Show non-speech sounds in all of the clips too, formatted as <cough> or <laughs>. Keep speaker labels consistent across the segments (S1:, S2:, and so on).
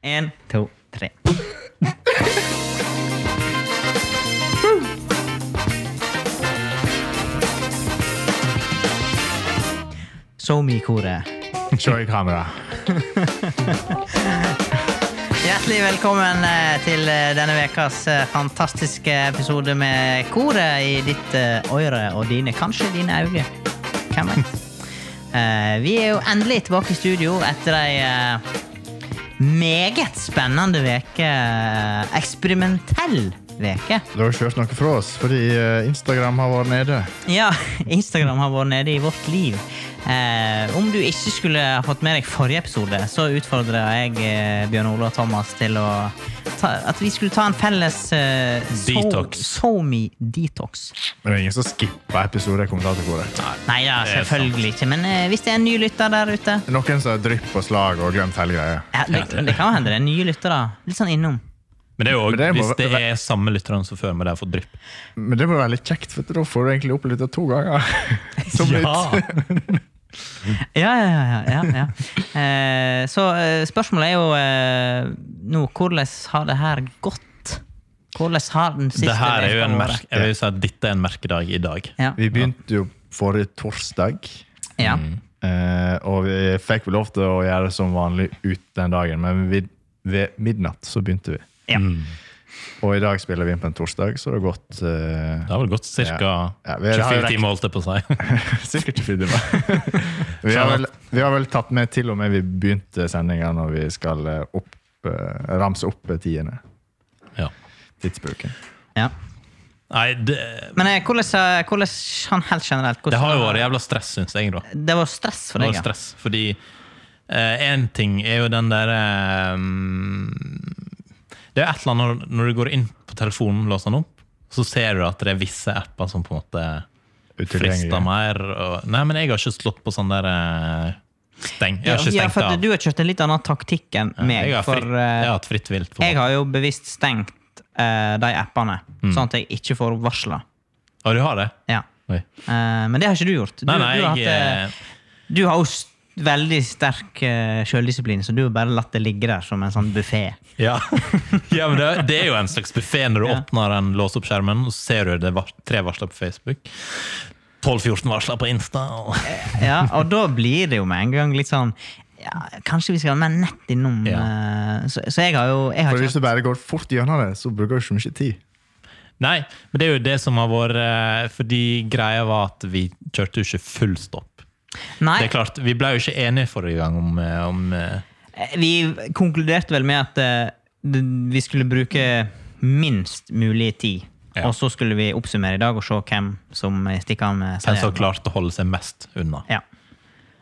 S1: Én, to, tre. <laughs> SoMe-koret.
S2: Se i kamera.
S1: Hjertelig velkommen eh, til eh, denne ukas fantastiske episode med koret i ditt eh, øre og dine, kanskje dine øyne. Hvem vet? <laughs> Eh, Vi er jo endelig tilbake i studio etter ei eh, meget spennende veke eh, Eksperimentell veke.
S2: Du har ikke hørt noe fra oss, fordi eh, Instagram har vært nede.
S1: Ja, Instagram har vært nede i vårt liv. Eh, om du ikke skulle ha fått med deg forrige episode, så utfordra jeg eh, Bjørn Ole og Thomas til å ta, at vi skulle ta en felles eh, so-
S3: Detox.
S1: SoMe-detox.
S2: Men det er ingen som skipper episoder i kommentatorkoret.
S1: Nei da,
S3: Det er
S1: selvfølgelig ikke. Men eh, hvis det er en ny lytter der ute
S2: Det er Noen som har drypp på slaget og glemt hele greia.
S1: ja, det, det kan jo hende det er nye lyttere. Litt sånn innom.
S3: Men det er jo
S2: Men det må
S3: hvis det
S2: være-
S3: er samme lytterne som før, må de få drypp.
S2: Men det må være litt kjekt, for da får du egentlig opplevd det to ganger. <laughs> Som
S3: <laughs>
S2: nytt.
S1: Ja, ja, ja. ja, ja,
S3: <laughs>
S1: ja. Eh, så eh, spørsmålet er jo eh, nå hvordan har det her gått? Hvordan har den siste
S3: Det her er jo
S1: veka
S3: en
S1: vært?
S3: merk, jeg vil si at dette er en merkedag i dag.
S1: Ja.
S2: Vi begynte jo forrige torsdag,
S1: ja.
S3: Mm.
S2: eh, og vi fikk vel lov til å gjøre det som vanlig ut den dagen, men vid, ved midnatt så begynte vi.
S1: Ja.
S3: Mm.
S2: Og i dag spiller vi inn på en torsdag, så det har gått eh,
S3: Det har vel gått ca.
S2: Ja, vi har-
S3: 24 timer, holdt jeg på å si. <laughs>
S2: Cirka 24
S1: <laughs>
S2: timer. vi, har vel, vi har vel tatt med til og med vi begynte sendinga når vi skal eh, opp, eh, ramse opp eh, tiende.
S3: Ja.
S2: Tidsbruken.
S1: ja.
S3: Nei, det,
S1: Men eh, hvordan, eh, hvordan han helt generelt hvordan,
S3: det har jo vært jævla stress, syns jeg, da.
S1: Det var stress for
S3: Det
S1: deg,
S3: var stress, fordi én ting er jo den derre Det er jo et eller annet når, når du går inn på telefonen, låser den opp, så ser du at det er visse apper som på en måte frister
S2: Utilgjengelig.
S3: mer. Og, nei, men jeg har ikke slått på sånn der eh, steng. Jeg
S1: ja.
S3: har ikke
S1: ja,
S3: stengt
S1: for at
S3: av.
S1: du har kjørt en litt annen taktikk enn meg.
S3: jeg, har
S1: for
S3: fritt,
S1: eh,
S3: jeg har hatt fritt vilt. på en
S1: jeg har jo bevisst stengt eh, de appene,
S3: Mm.
S1: sånn at jeg ikke får varsler.
S3: måte. Og du har det?
S1: Ja.
S3: Oi.
S1: Eh, men det har ikke du gjort. Du,
S3: Nei, nei,
S1: du, har,
S3: jeg,
S1: hatt,
S3: eh,
S1: eh, du har jo s- veldig sterk uh, sjøldisiplin, så du har bare latt det ligge der som en sånn buffé.
S3: <laughs> ja. ja, men det, det er jo en slags buffé når du åpner den, låser opp skjermen, og så ser du det var, tre varsler på Facebook. 12-14 varsler på Insta. Og,
S1: Ja, og da blir det jo med en gang litt sånn ja, Kanskje vi skal ha mer nett innom
S3: Ja.
S1: eh, så, så jeg har jo jeg har
S2: For hvis
S1: ikke,
S2: du bare går fort gjennom det, så bruker du ikke mye tid.
S3: nei, men det er jo det som har vært eh, Fordi greia var at vi kjørte jo ikke full stopp.
S1: Nei,
S3: Det er klart, Vi ble jo ikke enige forrige gang om, eh, om eh,
S1: eh, vi konkluderte vel med at eh, det- vi skulle bruke minst mulig tid.
S3: Ja.
S1: Og så skulle vi oppsummere i dag og se hvem som eh, stikker av med
S3: hvem som
S1: seieren.
S3: klarte å holde seg mest unna.
S1: Ja.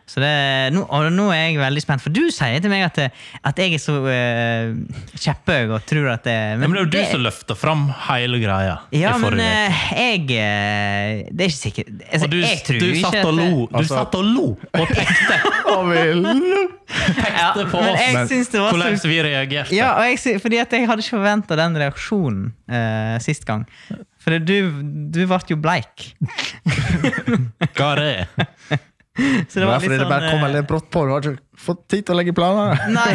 S1: Så det, nå, og nå er jeg veldig spent, for du sier til meg at, eh, at jeg er så uh, kjepphøy og tror at det,
S3: Ja, men det er jo du
S1: det-
S3: som løfta fram hele greia.
S1: Ja,
S3: i
S1: men
S3: forrige uke.
S1: eh, jeg eh, Det er ikke sikkert altså,
S3: Og du,
S1: Jeg tror
S3: du
S1: ikke
S3: satt
S1: at-
S3: og lo Du
S2: Altså-
S3: satt og lo og pekte,
S2: Og vi-
S3: pekte
S1: <laughs> Ja,
S3: på
S1: men
S3: oss.
S1: jeg
S2: men-
S1: syns det var
S3: Hvordan
S1: så
S3: vi reagerte.
S1: ja, og jeg, sy- fordi at jeg hadde ikke forventa den reaksjonen eh, sist gang. For du, du ble jo bleik.
S3: Hva er det?
S1: Så
S2: Det var fordi det bare kom
S1: eh,
S2: veldig brått på. Du har ikke fått tid til å legge planer.
S1: <laughs> Nei.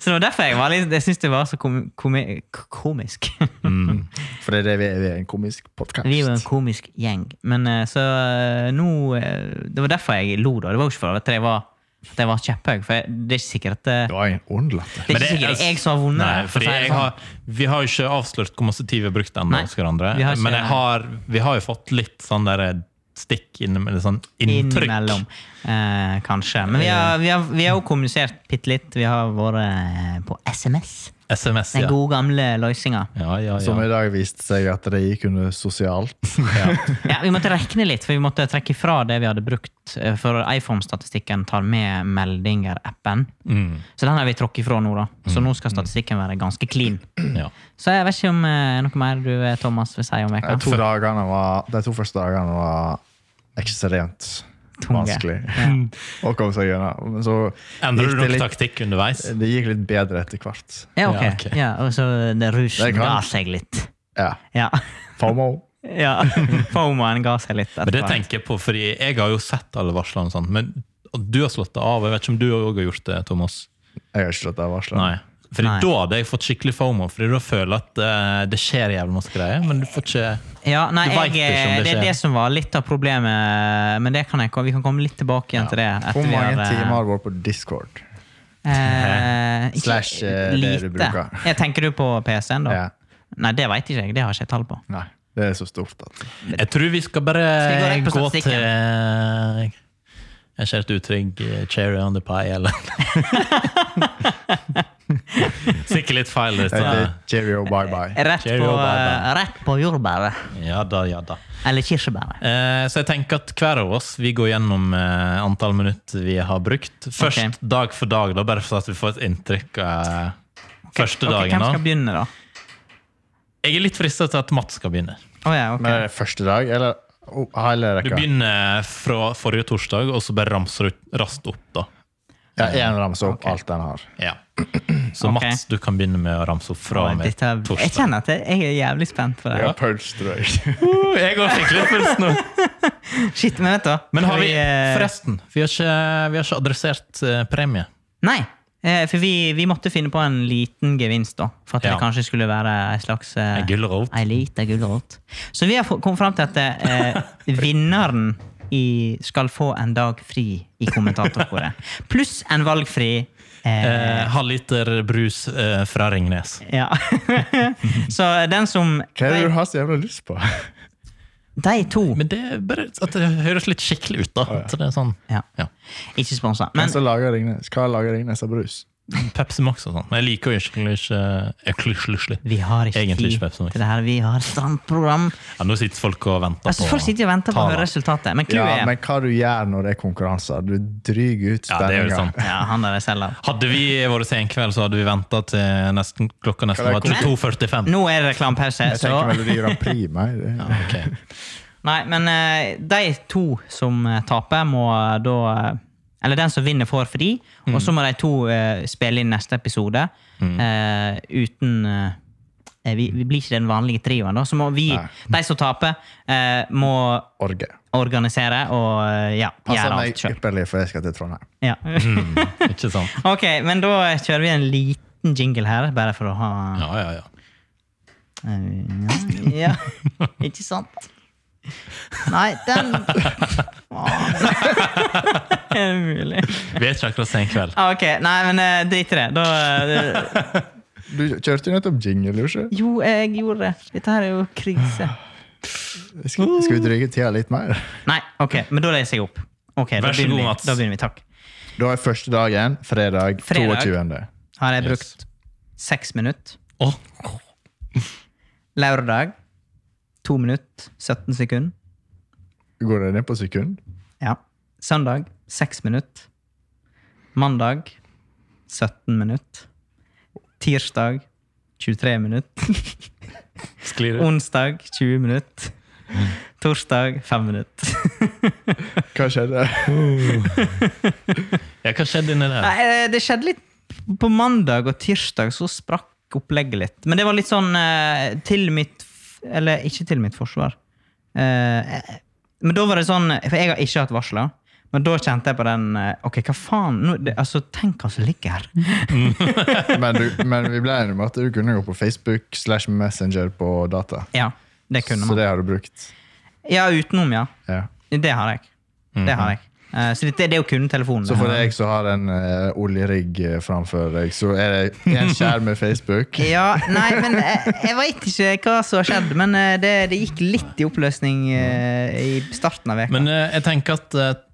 S1: Så det var derfor jeg var litt Jeg syns det var så kom, komi- komisk.
S3: Mm.
S2: Fordi det er vi- vi er en komisk
S1: Vi er jo en
S2: podkast.
S1: komisk gjeng. Men eh, så eh, nå eh, Det var derfor jeg lo, da. Det var jo ikke for at jeg var, at jeg var kjepphøy. For jeg, det er ikke sikkert at eh,
S2: Det var en ond latter.
S1: Det er ikke sikkert jeg som har vunnet.
S3: altså-
S1: for
S3: Nei,
S1: å
S3: fordi
S1: si det
S3: jeg
S1: sånn.
S3: har, vi har jo ikke avslørt hvor masse tid vi har brukt ennå,
S1: Nei,
S3: hos hverandre.
S1: vi har ikke-
S3: Men jeg har, vi har jo fått litt sånn der stikk innom, eller sånn inntrykk.
S1: Innimellom, eh, kanskje. Men vi har, vi, har, vi har jo kommunisert bitte litt. Vi har vært eh, på SMS.
S3: SMS,
S1: Den
S3: ja.
S1: gode, gamle løsninga.
S3: Ja, ja,
S2: Som
S3: ja.
S2: i dag viste seg at det gikk under sosialt.
S1: Ja, vi måtte rekne litt, for vi måtte trekke fra det vi hadde brukt. eh, For iPhone-statistikken tar med meldinger-appen.
S3: Mm,
S1: Så den har vi tråkket fra nå, da. Så nå skal statistikken være ganske clean.
S3: ja.
S1: Så jeg vet ikke om eh, noe mer du, eh, Thomas, vil si om veka.
S2: De to, dagene var, de to første dagene var ekstremt
S1: Tunge.
S2: vanskelig <laughs> å komme seg gjennom. Men så
S3: Endrer du
S2: det
S3: nok
S2: litt,
S3: taktikk underveis?
S2: det gikk litt bedre etter hvert.
S1: Ja, ok.
S3: Ja, ok.
S1: Ja, og så det rusen
S2: Det kan-
S1: ga seg litt.
S2: Ja.
S1: Ja. <laughs>
S2: FOMO.
S1: Ja, <laughs> FOMO-en ga seg litt.
S3: Men det tenker jeg på, fordi jeg har jo sett alle varslene, og sånt, men og du har slått det av. og Jeg vet ikke om du òg har gjort det, Thomas.
S2: Jeg har ikke slått av varsler.
S3: Nei. Fordi
S1: Nei.
S3: da hadde jeg fått skikkelig fomo, fordi da føler jeg at eh, det skjer jævlig masse greier, men du får ikke
S1: Ja, nei, jeg,
S3: Du vet ikke om det
S1: det er
S3: skjer.
S1: det som var litt av problemet, men det kan jeg, vi kan komme litt tilbake igjen til det.
S2: Hvor
S1: vi
S2: mange
S1: har, eh,
S2: timer har du vært på Discord?
S1: <laughs> Eh,
S3: <laughs>
S1: ikke
S2: Slash, eh, det
S1: lite.
S2: du bruker.
S1: <laughs> Ja, tenker du på PC-en, da?
S2: Ja.
S1: Nei, det veit ikke jeg. Det har ikke jeg tall på.
S2: Nei, det er så stort at
S3: Jeg tror vi skal bare
S1: Skal vi gå rett på
S3: gå, til
S1: statistikken?
S3: Jeg ser et uttrykk eh, 'cherry on the pie' eller <laughs> Sikkert litt feil. det
S2: Jeg heter
S3: sa.
S2: Cheerio Bye Bye.
S1: Rett
S3: Cherry
S1: på, eh,
S3: og bærbær.
S1: rett på jordbæret.
S3: Ja da, ja da.
S1: Eller kirsebæret.
S3: Eh, Så jeg tenker at hver av oss vi går gjennom eh, antall minutt vi har brukt. Først
S1: Ok.
S3: dag for dag, da, bare for at vi får et inntrykk av eh, første
S1: Ok,
S3: dagen.
S1: hvem skal
S3: da.
S1: begynne, da?
S3: Jeg er litt frista til at Mats skal begynne.
S1: Å ja, ok.
S2: Men er det første dag, eller oh, hele
S3: Du
S2: rekka?
S3: begynner fra forrige torsdag, og så bare ramser du raskt opp, da.
S2: Ja, én ramse opp alt den har.
S3: Ja. Så
S1: Ok.
S3: Mats, du kan begynne med å ramse opp fra
S1: Oi,
S3: og med
S1: dette, jeg
S3: torsdag.
S1: kjenner at jeg jeg er jævlig spent på det.
S2: Ja, pølse, tror jeg.
S3: Uh, jeg går skikkelig først nå.
S1: Shit, men vet du hva?
S3: Men har vi,
S1: eh,
S3: forresten, vi har ikke, vi har ikke adressert eh, premie.
S1: Nei. eh, For vi, vi måtte finne på en liten gevinst, da. For at
S3: Ja.
S1: det kanskje skulle være ei slags eh,
S3: En gulrot.
S1: Ei lita gulrot. Så vi har få- kommet fram til at
S3: <laughs>
S1: eh, vinneren i skal få en dag fri i kommentatorkoret. Pluss en valgfri eh,
S3: Eh, Halvliter brus eh, fra Ringnes.
S1: Ja. <laughs> Så den som
S2: <laughs> Hva er det
S1: de,
S2: du har så jævla lyst på?
S1: de to
S3: Men det er bare at det høres litt skikkelig ut, da. At det er sånn
S1: Ja.
S3: ja. Altså,
S1: Ikke sponsa.
S2: Men,
S1: Men
S2: <laughs> så lager Ringnes, hva lager Ringnes av brus?
S3: Pepsi Max og sånn. Men Jeg liker jo egentlig ikke jeg klusj- klusj litt.
S1: vi har ikke
S3: Egentlig
S1: tid
S3: ikke Pepsi Max.
S1: til det her. Vi har standprogram.
S3: Ja, nå sitter folk og venter
S1: Altså, folk sitter jo og venter på å
S3: Ta
S1: høre
S3: da.
S1: resultatet. Men
S2: Ja,
S1: clouet er
S2: men hva du gjør når det er konkurranser? Du dryger ut
S3: Ja, det er jo
S2: spenninga.
S3: sant.
S1: Ja, han der er selger.
S3: Hadde vi vært senkveld, så hadde vi venta til nesten, klokka nesten
S2: Kan
S3: var
S2: jeg komme-
S3: 22.45.
S1: Nå er det reklamepause,
S2: jeg
S1: så
S2: tenker Melodi Grand Prix,
S1: <laughs>
S2: meg. Det-
S3: Ja, ok.
S1: Nei, men eh, de to som eh, taper, må eh, da eh, Eller den som vinner, får fri.
S2: Mm.
S1: Og så må de to eh, spille inn neste episode eh, uten eh, vi, vi blir ikke den vanlige trioen, da. Så må vi,
S2: Nei.
S1: de som taper, eh, må
S2: Orge.
S1: organisere og eh, ja,
S2: Passer
S1: gjøre
S2: meg Mm.
S1: alt sjøl.
S2: ypperlig, for jeg skal til Trondheim.
S1: Ja.
S3: Ikke sant?
S1: <laughs> ok, men da kjører vi en liten jingle her, bare for å ha
S3: Ja, ja, ja.
S1: Eh, Ja, ikke sant? Nei, den Faen. <laughs> Er det mulig?
S3: Vi er ikke akkurat senkveld.
S1: Ah, ok, nei, men eh, drit i det. Da eh,
S2: Du kjørte jo nettopp jingle, gjorde du ikke?
S1: Jo, jeg gjorde det. Dette her er jo krise.
S2: Skal, skal vi dryge tida litt mer? <laughs>
S1: Nei, ok, men da leser jeg opp. Ok, da
S3: Vær så
S1: begynner
S3: god,
S1: vi.
S3: Mats.
S1: Da begynner vi, takk.
S2: Da er første dagen fredag,
S1: Fredag.
S2: 22.
S1: Har jeg
S3: Yes.
S1: brukt seks minutter.
S3: Åh,
S1: Lørdag to minutter, 17 sekunder.
S2: Går det ned på sekund?
S1: Ja. Søndag seks minutter. Mandag 17 minutter. Tirsdag 23 minutter.
S3: sklir ut.
S1: Onsdag 20 minutter. Torsdag 5 minutter.
S2: Hva skjedde? <laughs>
S3: Ja, hva skjedde inni der?
S1: Nei, eh, det skjedde litt på mandag og tirsdag, så sprakk opplegget litt. Men det var litt sånn eh, til mitt f- Eller ikke til mitt forsvar. Eh, eh, Men da var det sånn For jeg har ikke hatt varsler. Men da kjente jeg på den eh, Ok, hva faen? Nå, det, altså, tenk hva som ligger her.
S2: Men, du, men vi ble enige om at du kunne gå på Facebook slash Messenger på data.
S1: Ja, det kunne
S2: Så
S1: man.
S2: det har du brukt.
S1: Ja, utenom, ja.
S2: Ja.
S1: Det har jeg. Det
S3: Mhm.
S1: har jeg. Eh, så dette, det er jo kun telefonen.
S2: Så for deg som har en eh, oljerigg eh, framfor deg, så er det en skjerm med Facebook.
S1: Ja, nei, men jeg, jeg veit ikke hva som har skjedd, men eh, det, det gikk litt i oppløsning eh, i starten av veka.
S3: Men eh, jeg tenker at eh,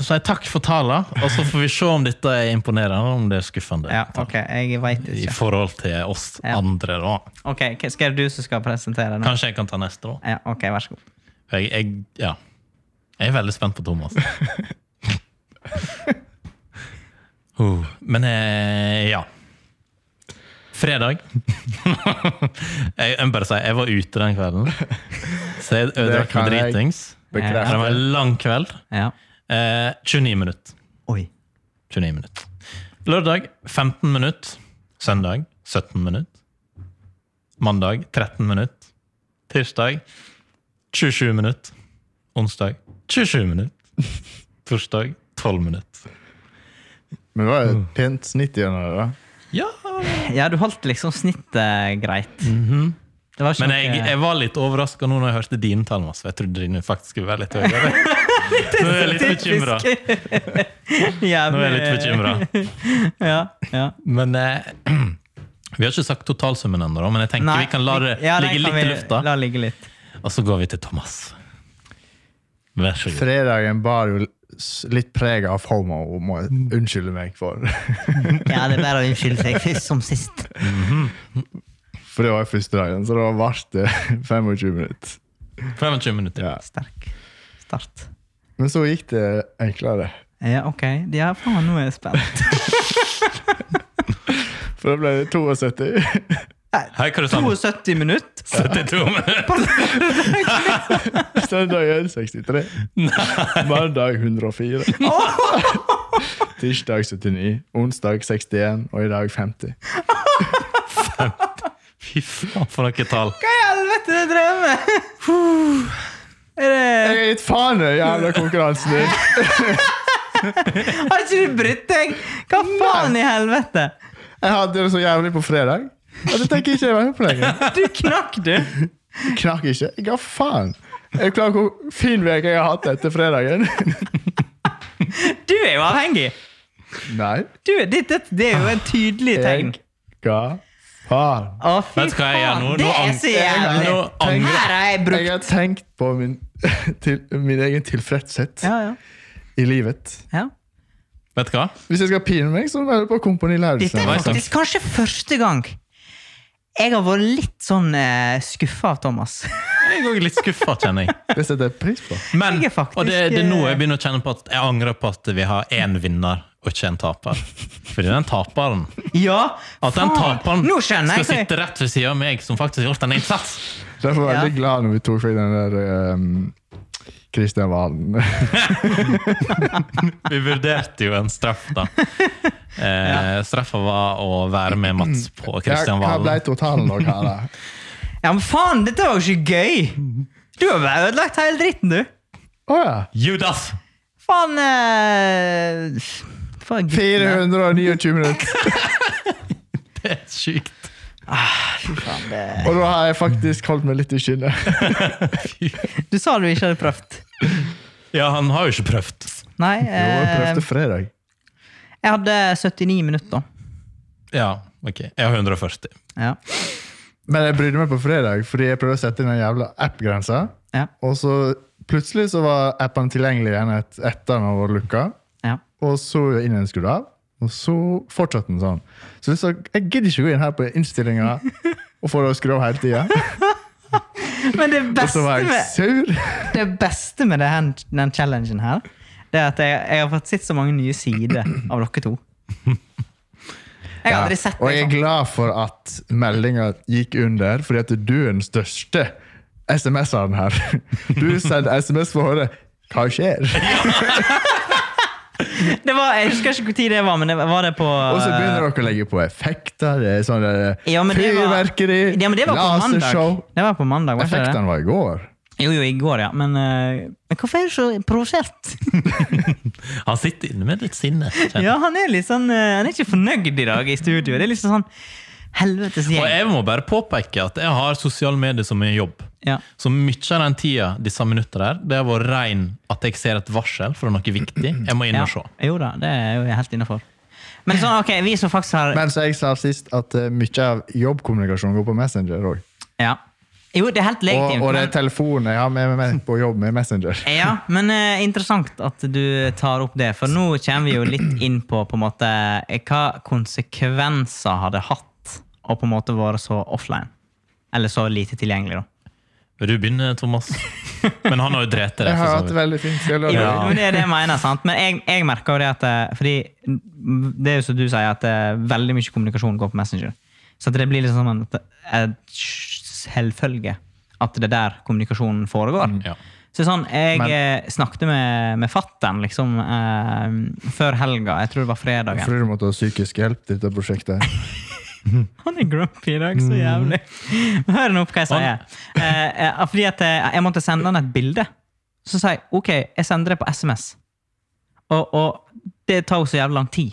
S3: Så jeg takk for tala, og så får vi se om dette er imponerende, og om det er skuffende.
S1: Ja, ok, jeg veit
S3: I
S1: ikke.
S3: forhold til oss
S1: Ja.
S3: andre, da.
S1: Ok, hva- Skal det du som skal presentere nå?
S3: Kanskje jeg kan ta neste, da.
S1: Ja, ok, vær så god.
S3: Jeg, jeg, ja. jeg er veldig spent på
S2: <laughs>
S3: Thomas. Uh, men eh, ja.
S2: <laughs>
S3: Fredag. jeg, jeg må bare si, jeg var ute den kvelden, så jeg
S2: Det
S3: ødelagt
S2: kan
S3: med
S2: jeg
S3: dritings.
S2: Bekreft.
S3: Det var en lang kveld.
S1: Ja.
S3: Eh, 29 minutter.
S1: Oi.
S3: 29 minutter. Lørdag 15 minutter. Søndag 17 minutter. Mandag 13 minutter. Tirsdag 27 minutter. Onsdag 27 minutter. Torsdag 12 minutter.
S2: Men det var et pent snitt gjennom det. da.
S3: Ja.
S1: Ja, du holdt liksom snittet greit. Det var ikke
S3: Mhm. Men
S1: noe-
S3: jeg, jeg var litt overraska nå når jeg hørte dine tall, Mats, for jeg trodde dine faktisk skulle være litt
S1: <laughs>
S3: høyere. Nå er jeg litt bekymra. Nå er jeg litt bekymra.
S1: eh, Ja, ja.
S3: Men eh, <clears throat> vi har ikke sagt totalsummen ennå, da, men jeg tenker
S1: Nei,
S3: vi kan la det
S1: ja, nei, kan
S3: ligge litt i
S1: vi
S3: lufta.
S1: La det ligge litt.
S3: Og så går vi til Thomas. Vær så god.
S2: Fredagen bar jo s- litt preg av homo, må jeg unnskylde meg for. <laughs>
S1: Ja, det er bare å unnskylde seg <laughs> først som sist.
S2: For det var jo første dagen, så da ble det <laughs> 25 minutter.
S3: 25 minutter.
S2: Ja.
S1: Sterk start.
S2: Men så gikk det enklere.
S1: Ja, ok. Ja, faen, nå er jeg spent. <laughs>
S2: For da ble det <laughs> 72.
S3: Hei, hva er det sånn?
S1: 72 minutter?
S3: 72 minutter.
S2: Søndagen 63. Mandag 104. Tirsdag 79. Onsdag 61. Og i dag 50.
S3: Fy faen, for noen tall.
S1: Hva i helvete er det drevet med? Er det,
S2: Jeg har gitt faen i jævla konkurransen din!
S1: har ikke du brydd deg? Hva faen i helvete?
S2: Jeg hadde det så jævlig på fredag. Og det tenker jeg ikke jeg være med på lenger.
S1: Du knakk, du.
S2: Jeg Knakk ikke. Jeg ga faen. Er du klar over hvor fin uke jeg har hatt etter fredagen?
S1: <laughs> Du er jo avhengig.
S2: Nei.
S1: Du, det, det, det er jo en tydelig tegn.
S2: Jeg ga faen.
S1: Å, fy
S3: Vet du hva jeg gjør nå? Nå
S1: Det er
S3: ang-
S1: så
S2: jeg-
S1: jævlig.
S3: nå angrer-
S1: Her har jeg brukt
S2: Jeg har tenkt på min, <laughs> til, min egen tilfredshet
S1: Ja, ja.
S2: i livet.
S1: ja.
S3: Vet du hva?
S2: Hvis jeg skal pine meg, så må jeg på Kompani
S1: Dette
S2: Lauritzen.
S1: er
S3: Nei, takk.
S1: faktisk kanskje første gang jeg har vært litt sånn eh, skuffa av Thomas.
S3: Jeg er òg litt skuffa, kjenner jeg.
S2: Det setter jeg pris på.
S3: Men,
S1: Jeg er faktisk- eh,
S3: og det, det er nå jeg begynner å kjenne på at jeg angrer på at vi har én vinner og ikke en taper. Fordi den taperen
S1: Ja,
S3: At den
S1: faen.
S3: taperen
S1: Nå
S3: skal
S1: skjønner jeg hva jeg-
S3: sitte rett ved siden av meg, som faktisk har gjort en innsats!
S2: Derfor var jeg
S1: Ja.
S2: veldig glad når vi tok vekk den der ehm, Kristian Valen. <laughs>
S3: Vi vurderte jo en straff,
S1: <laughs>
S3: da. Eh, straffa var å være med Mats på Kristian
S2: Hva ble
S3: Valen.
S2: totalen nok her,
S1: <laughs>
S2: da?
S1: Ja, men faen, dette var jo ikke gøy! Du har bare ødelagt hele dritten, du.
S2: Å ja.
S3: Judas!
S1: Faen eh, faen, guttene.
S2: 429 minutter.
S3: Det er sjukt.
S1: Fy faen, det-
S2: Og da har jeg faktisk holdt meg litt i skinnet.
S1: Du sa du ikke hadde prøvd.
S3: Ja, han har jo ikke prøvd.
S1: Nei,
S2: Jo, jeg
S1: <laughs> eh,
S2: prøvde fredag.
S1: jeg hadde 79 minutter.
S3: Ja, ok. Jeg har 140.
S1: Ja.
S2: Men jeg brydde meg på fredag, fordi jeg prøvde å sette inn den jævla app-grensa.
S1: Ja.
S2: Og så plutselig så var appen tilgjengelig igjen et, etter den var lukka.
S1: ja.
S2: Og så gjorde jeg inn en skrudd av. Og så fortsatte den sånn. Så jeg, sa, jeg gidder ikke gå inn her på innstillinga og få det å skru av hele
S1: <laughs>
S2: tida.
S1: Men det
S2: Og
S1: beste
S2: så var jeg
S1: med
S2: sur.
S1: Det beste med det her, den challengen her, det er at jeg, jeg har fått sett så mange nye sider av dere
S2: <laughs>
S1: to. Jeg har aldri sett
S2: Og jeg er
S1: deg sånn.
S2: glad for at meldinga gikk under, fordi at du er den største SMS-eren her. <laughs> Du sendte SMS for å høre hva skjer,
S1: Det var, jeg husker ikke hvor tid det var, men det var det på
S2: og så begynner dere å legge på effekter. Det er sånn der,
S1: Eh, Ja, men det var-
S2: fyrverkeri,
S1: ja, men det var på mandag.
S2: lasershow.
S1: Det var på mandag, var ikke det?
S2: Effektene var i går.
S1: Jo, jo, i går, ja. Men, eh, men hvorfor er du så
S2: <laughs>
S1: provosert?
S3: Han sitter inne med litt sinne. kjenner jeg.
S1: Ja, han er litt sånn eh, Han er ikke fornøyd i dag i studio. Det er liksom sånn Helvetes
S3: Og
S1: gjeng.
S3: jeg må bare påpeke at jeg har sosiale medier som en jobb.
S1: Ja.
S3: Så mye av den tida, disse minuttene der, det har vært rein at jeg ser et varsel fra noe viktig. Jeg må inn
S1: Ja.
S3: og se.
S1: Jo da, det er jo helt innafor. Men sånn, ok, vi som faktisk har
S2: Mens jeg sa sist at eh, mye av jobbkommunikasjon går på Messenger òg.
S1: ja. Jo, det er helt
S2: Og,
S1: legitimt.
S2: og det
S1: men-
S2: er telefonen jeg har med meg på jobb med Messenger.
S1: Ja, men eh, interessant at du tar opp det, for nå kommer vi jo litt inn på, på en måte, eh, hva konsekvenser har det hatt å på en måte være så offline? Eller så lite tilgjengelig, da.
S3: Vil du begynne, Thomas? Men han har jo drept deg.
S2: Jeg har
S3: for så
S2: hatt
S3: vidt.
S2: det veldig fint. Jeg
S1: Jo,
S2: lover.
S3: Ja.
S1: men det er det jeg mener, sant? Men jeg, jeg merker jo det at eh, Fordi det er jo som du sier, at eh, veldig mye kommunikasjon går på Messenger. Så at det blir liksom en, en selvfølge at det er der kommunikasjonen foregår.
S3: Ja.
S1: Så sånn, Jeg
S2: Men-
S1: eh, snakket med, med fattern liksom, eh, før helga. Jeg tror det var fredagen.
S2: Fordi du måtte ha psykisk hjelp til dette prosjektet.
S1: Han er grumpy i dag, så
S3: Mm.
S1: jævlig. Hør nå på hva jeg sier. Eh, eh, fordi at eh, jeg måtte sende han et bilde. Så sa jeg OK, jeg sender det på SMS. Og, og det tar jo så jævlig lang tid.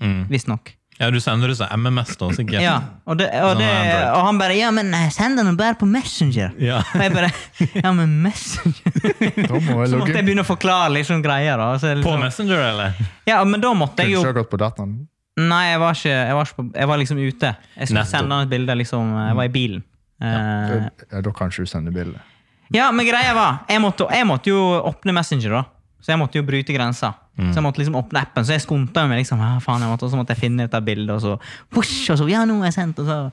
S1: Visstnok.
S3: Mm. Ja, du sender det som MMS, da, sikkert.
S1: Ja, og, det, og,
S3: Sånn
S1: det,
S3: Android.
S1: og han bare 'ja, men eh, send den bare på Messenger'.
S3: Ja.
S1: Og jeg bare 'ja, men
S3: <laughs>
S1: Messenger'?
S2: Da må
S1: Så
S2: jeg
S1: måtte jeg
S2: logge.
S1: begynne å forklare liksom greier. da. Så jeg
S3: På
S1: liksom,
S3: Messenger, eller?
S1: ja, men da måtte jeg
S2: Kunne
S1: jo
S2: ikke ha gått på dataen.
S1: Nei, jeg var, ikke, jeg var, ikke på, jeg var liksom ute. Jeg skulle
S3: Nettopp.
S1: sende han et bilde. liksom, Jeg var i bilen. Eh,
S2: Ja, da kan ikke du sende bilde.
S1: Ja, men greia var jeg måtte, jeg måtte jo åpne Messenger, da. Så jeg måtte jo bryte grensa. Så jeg måtte liksom åpne appen, så jeg skunta meg. liksom, ja, faen, jeg måtte, Og så måtte jeg finne ut av bildet, og så push, og så, ja, nå er jeg sendt, og så...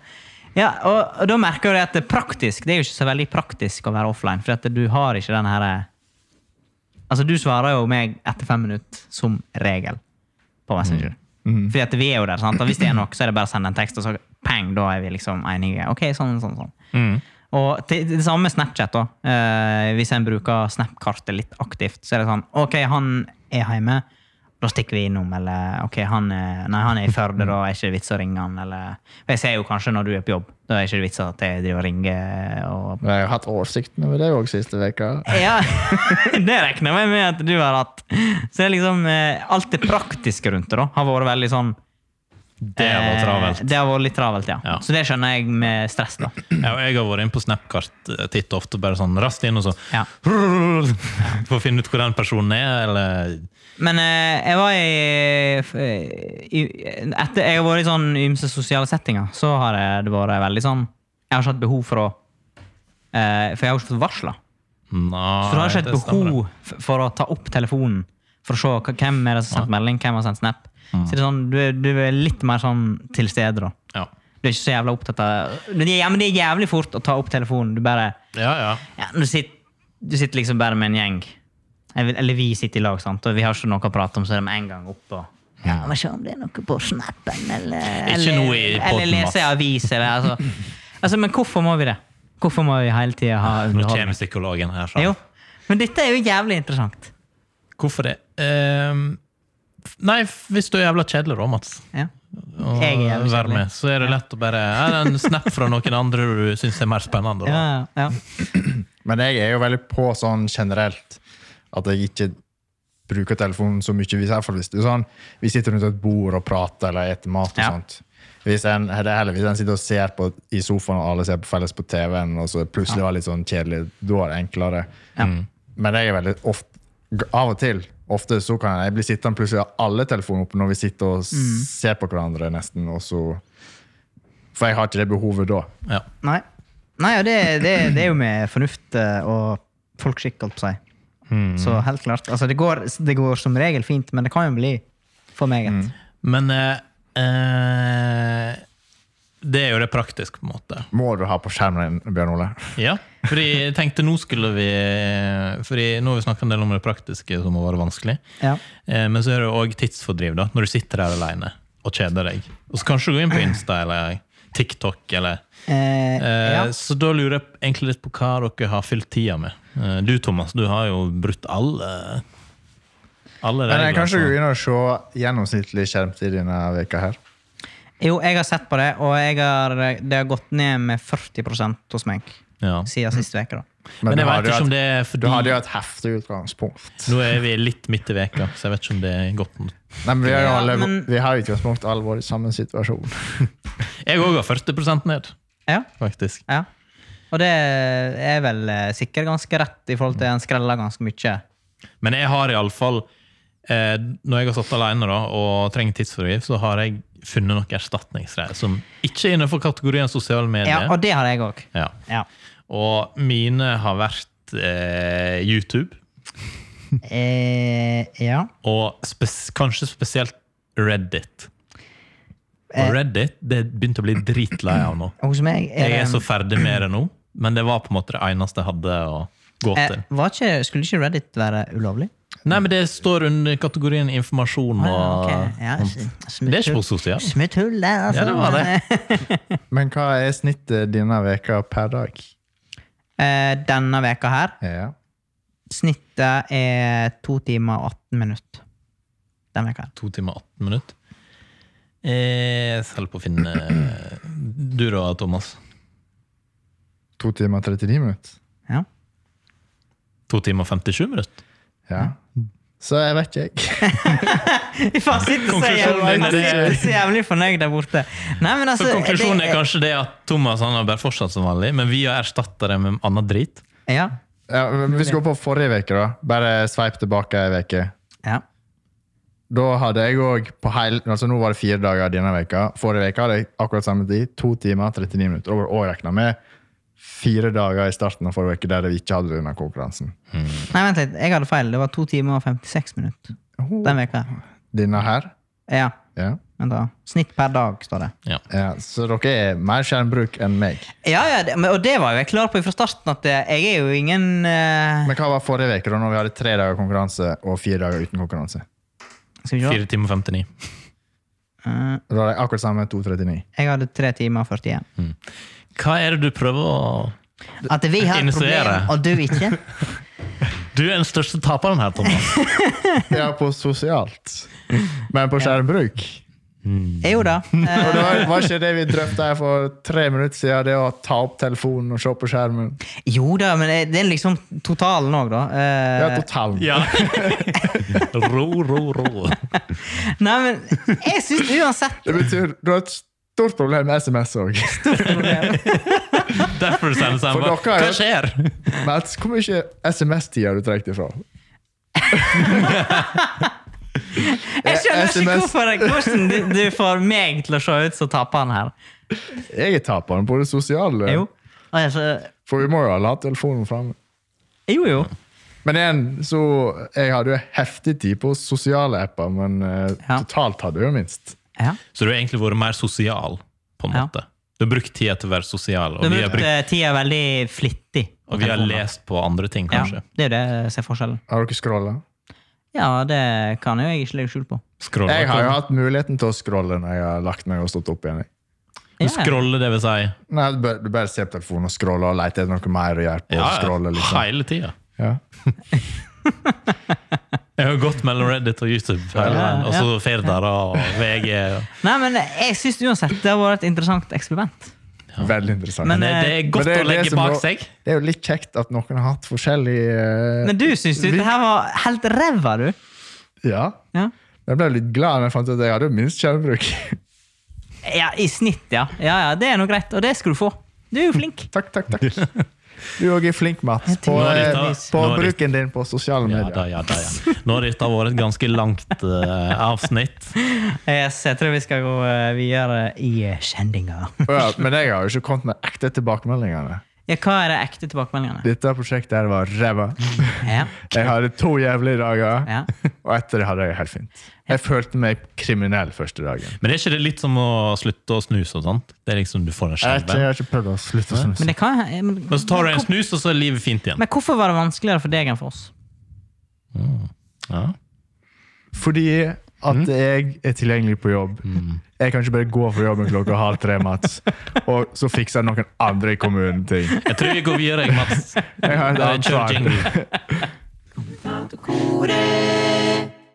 S1: Ja, og, og da merker jeg at det er praktisk. Det er jo ikke så veldig praktisk å være offline, for at du har ikke den her Altså, du svarer jo meg etter fem minutter, som regel, på Messenger. Fordi at vi er jo der, sant? og hvis det er noe, så er det bare å sende en tekst, og så pang, da er vi liksom enige. Ok, sånn, sånn, sånn. Og til, det samme med Snapchat. da. Eh, hvis en bruker Snap-kartet litt aktivt, så er det sånn OK, han er hjemme, da stikker vi innom. Eller OK, han er, nei, han er i Førde, da er det ikke vits å ringe han. Eller, for jeg ser jo kanskje når du er på jobb, da er det ikke vits at jeg driver og ringer. og... <laughs>
S2: Men jeg har hatt oversikten over det òg siste uka.
S1: Ja, Det regner jeg med at du har hatt. Så det er liksom, eh, alt det praktiske rundt det da, har vært veldig sånn
S3: Det var
S1: eh,
S3: travelt.
S1: Det har vært litt travelt, ja.
S3: Ja.
S1: Så det skjønner jeg med stress. da.
S3: Ja, og jeg har vært inne på Snapkart eh, titt og ofte, bare sånn raskt inn og så <laughs>
S1: Ja.
S3: For å finne ut hvor den personen er, eller
S1: Men eh, jeg var i, i Etter jeg har vært i sånn ymse sosiale settinger, så har jeg, det vært veldig sånn Jeg har ikke hatt behov for å eh, For jeg har jo ikke fått varsla.
S3: Nei,
S1: Så du har ikke
S3: det
S1: et
S3: stemmer det.
S1: behov f- for å ta opp telefonen for å se hva- hvem er det som har sendt melding, hvem har sendt snap.
S3: Mm.
S1: Så det er sånn, du, er- du er litt mer sånn til stede, da.
S3: Ja,
S1: Du er ikke så jævla opptatt av Men det er- Ja, men det er jævlig fort å ta opp telefonen. Du bare
S3: ja. ja.
S1: ja, du, sitter, du sitter liksom bare med en gjeng. Jeg vil- Eller vi sitter i lag, sant? og vi har ikke noe å prate om, så er det med en gang opp. Og, ja, men se om det er noe på snappen, eller
S3: Ikke
S1: eller-
S3: noe i podden,
S1: Eller
S3: Mats.
S1: lese i avis, eller altså. altså. Men hvorfor må vi det? Hvorfor må vi hele tida ha
S3: Nå
S1: underholdning?
S3: kommer psykologen her. sant?
S1: Jo. Men dette er jo jævlig interessant.
S3: Hvorfor det? Ehm, f- nei, f- hvis du er jævla kjedelig da, Mats,
S1: Ja.
S3: og
S1: Jeg er jævlig
S3: være
S1: kjedelig.
S3: med, så er det lett å bare ja, en snap fra noen andre du syns er mer spennende. Da.
S1: Ja, ja.
S2: Men jeg er jo veldig på sånn generelt at jeg ikke bruker telefonen så mye. Hvis, i hvert fall hvis det er sånn, vi sitter rundt et bord og prater eller spiser mat. og
S1: Ja.
S2: sånt. Hvis en, det er heller, hvis en sitter og ser på i sofaen, og alle ser på felles på TV-en, og så plutselig var det litt sånn kjedelig, da er det enklere. Men jeg er veldig ofte, av og til ofte så kan jeg bli sittende plutselig har alle telefoner oppe når vi sitter og ser på hverandre, nesten. og så... For jeg har ikke det behovet da.
S3: Ja.
S1: Nei. Nei, og det, det, det er jo med fornuft eh, og folkskikk, holdt på å si.
S3: Hmm.
S1: Så helt klart. Altså, det, går, det går som regel fint, men det kan jo bli for meget.
S3: Men eh, eh, det er jo det praktiske, på en måte.
S2: Må du ha på skjermen, Bjørn Ole?
S3: Ja, fordi jeg tenkte nå skulle vi Fordi nå har vi snakket en del om det praktiske som må være vanskelig.
S1: Ja.
S3: Eh, Men så er det òg tidsfordriv, da, når du sitter der alene og kjeder deg. Og så kanskje du går inn på Insta eller TikTok eller
S1: Eh,
S3: eh,
S1: ja.
S3: Så da lurer jeg egentlig litt på hva dere har fylt tida med. Eh, Du, Thomas, du har jo brutt alle alle
S2: Men eh,
S3: altså.
S2: jeg
S3: regler,
S2: kan ikke
S3: så-
S2: gå inn og se gjennomsnittlig skjermtid denne veka her.
S1: Jo, jeg har sett på det, og jeg har, det har gått ned med 40 hos meg
S3: ja.
S1: siden sist uke. da.
S3: Men
S2: du
S3: jeg
S2: hadde
S3: vet
S2: jo
S3: ikke om
S2: hatt-
S3: det er
S2: Du hadde
S3: fordi
S2: jo et heftig utgangspunkt.
S3: Nå er vi litt midt i veka, så jeg vet ikke om det er godt nok.
S2: Nei, men Vi har jo
S1: Ja,
S2: alle,
S1: men-
S2: vi har jo utgangspunkt alvor i samme situasjon.
S3: Jeg òg har 40 ned,
S1: Ja,
S3: faktisk.
S1: ja. Og det er vel eh, sikkert ganske rett i forhold til en skreller ganske mye.
S3: Men jeg har iallfall eh, Når jeg har satt alene da, og trenger tidsfordriv, så har jeg funnet noe erstatningsgreier som ikke er innenfor kategorien sosiale
S1: Ja,
S3: medier.
S1: og det har jeg òg.
S3: Ja.
S1: Ja.
S3: Og mine har vært eh, YouTube,
S1: Eh, ja.
S3: og spes kanskje spesielt Reddit. Og Reddit det begynte å bli dritlei av nå.
S1: Og hos meg Eh. <clears throat> er
S3: Jeg
S1: det
S3: er så ferdig med det nå, men det var på en måte det eneste jeg hadde å gå
S1: eh,
S3: til.
S1: var ikke, Skulle ikke Reddit være ulovlig?
S3: Nei, men det står under kategorien informasjon og
S1: ok. ja, s-
S3: Det er ikke på
S1: smutthull-
S3: sosialt.
S1: Smutthull der, altså.
S3: Ja, det var det.
S2: Men hva er snittet denne veka per dag?
S1: <laughs> Eh, denne veka her
S2: Ja.
S1: Snittet er to timer og 18 minutter. Den veka. her.
S3: To timer og 18 minutter. Jeg holder på å finne eh, Du da, Thomas?
S2: To timer og
S1: <laughs>
S2: 39 minutter?
S1: Ja.
S3: To timer og 57 minutter?
S2: Ja. Så jeg vet ikke, jeg.
S1: Faen, sitter så jævlig,
S3: Konklusjonen
S1: han
S3: er det-
S1: sitter så jævlig fornøyd der borte. Nei, men
S3: Så
S1: altså,
S3: konklusjonen
S1: det-
S3: er kanskje det at Thomas han har bare fortsatt som vanlig, men vi har erstatta det med annet drit.
S1: Ja.
S2: Ja, men hvis vi går på forrige uke, da. Bare sveip tilbake ei uke.
S1: ja.
S2: Da hadde jeg òg på heil, altså Nå var det fire dager denne veka. Forrige uke hadde jeg akkurat samme tid. To timer 39 minutter. Og, og regna med fire dager i starten av forrige uke der vi ikke hadde denne konkurransen.
S1: Nei, vent litt. Jeg hadde feil. Det var to timer og 56 minutter den veka.
S2: Denne her.
S1: Ja,
S2: Ja.
S1: vent da. Snitt per dag, står det.
S3: Ja.
S2: Ja, så dere er mer skjermbruk enn meg.
S1: Ja, ja, det, men, og det var jo jeg klar på fra starten, at eh, jeg er jo ingen eh,
S2: Men hva var forrige uke, da når vi hadde tre dager konkurranse og fire dager uten konkurranse?
S1: Skal vi se.
S3: 4 timer 59.
S1: Eh,
S2: Da hadde jeg akkurat samme 2.39.
S1: jeg hadde tre timer og 41.
S3: Hva er det du prøver å
S1: At vi har et problem,
S3: Initiere.
S1: og du ikke?
S3: Du er den største taperen her, Thomas.
S2: <laughs> Ja, på sosialt. Men på skjermbruk.
S1: Jo da. eh,
S2: Og det var, var ikke det vi drøfta her for tre minutter siden, det å ta opp telefonen og se på skjermen?
S1: Jo da, men det- det er liksom totalen òg, da. Eh,
S2: <laughs> Ja, totalen.
S3: Ja. <laughs> Ro, ro, ro.
S1: Nei, men jeg syns uansett
S2: Det betyr du har et stort problem med SMS òg.
S1: <laughs>
S3: Derfor sendes han
S2: For
S3: bare
S2: dere er
S3: sånn, Hva
S2: jo-
S3: skjer?
S2: Hvor mye SMS-tid har du trukket ifra?
S1: Jeg skjønner ikke
S2: SMS.
S1: hvorfor hvordan du, du får meg til å se ut som taperen her.
S2: Jeg er taperen på det sosiale.
S1: Jo. Altså,
S2: For vi må jo alle ha telefonen framme.
S1: jo, jo.
S2: Men igjen, så jeg hadde jo heftig tid på sosiale apper, men eh,
S1: Ja.
S2: totalt hadde jeg jo minst.
S1: Ja.
S3: Så du har egentlig vært mer sosial, på en
S1: Ja.
S3: måte. Du har brukt tida til å være
S1: Du
S3: sosial, og
S1: har
S3: vi har,
S1: brukt
S3: brukt,
S1: eh, tida veldig flittig. på
S3: og vi har
S1: telefonen.
S3: lest på andre ting,
S1: Ja,
S3: kanskje.
S1: det er jo det som er forskjellen.
S2: Har dere scrolla?
S1: Ja, det kan jo jeg ikke legge skjul på.
S3: Scroller,
S2: Jeg har jo hatt muligheten til å scrolle når jeg har lagt meg og stått opp igjen. jeg.
S1: Ja.
S3: Du scroller, det vil si
S2: Nei, du bare, du bare ser på telefonen og scroller og leter etter noe mer å gjøre på.
S3: ja,
S2: og scroller, liksom.
S3: hele tida.
S2: Ja.
S3: Jeg har gått mellom Reddit og YouTube, hele veien, og så Firda og VG. og-
S1: Nei, men jeg syns uansett det har vært et interessant eksperiment.
S2: Veldig interessant.
S1: Men,
S3: Det, det er
S2: Men
S3: godt
S2: det er
S3: å
S2: det
S3: legge
S2: som
S3: bak
S2: må-
S3: seg.
S2: Det er jo litt kjekt at noen har hatt forskjellig eh,
S1: Men du syns jo det her var helt ræva, du.
S2: Ja.
S1: Ja.
S2: Jeg ble litt glad når jeg fant ut at jeg hadde jo minst skjermbruk.
S1: ja, I snitt, ja. Ja, ja, Det er nå greit, og det skal du få. Du er jo flink.
S2: <laughs> takk, takk, takk. Du òg er flink, Mats, på,
S3: Nå er det-
S2: eh, på
S3: nå er det-
S2: bruken din på sosiale
S3: Ja
S2: medier.
S3: da, ja da, ja. Nå har dette vært et ganske langt eh, avsnitt.
S1: Yes, jeg tror vi skal gå eh, videre i eh, kjendinga.
S2: Å Ja, men jeg har jo ikke kommet med ekte tilbakemeldingene.
S1: <laughs> Ja, hva er de ekte tilbakemeldingene?
S2: Dette prosjektet her var ræva.
S1: Ja,
S2: Jeg hadde to jævlige dager,
S1: ja.
S2: og etter det hadde jeg det helt fint. Jeg følte meg kriminell første dagen.
S3: Men er ikke det litt som å slutte å snuse og sånt? Det er liksom du får en
S2: Jeg har ikke,
S3: skjelve.
S2: jeg har ikke prøvd å slutte å
S1: Men,
S2: snuse.
S1: det kan, men,
S3: Men så tar du en
S1: men,
S3: snus, og så er livet fint igjen.
S1: men hvorfor var det vanskeligere for deg enn for oss?
S3: Mm. Ja.
S2: Fordi at jeg er tilgjengelig på jobb. Jeg kan ikke bare gå fra jobben klokka halv tre, Mats, og så fikser noen andre i kommunen ting.
S3: Jeg tror vi går videre, jeg,
S2: <laughs>
S3: Mats.
S2: Jeg har et
S3: Bare kjør
S2: ansvar.
S3: jingle.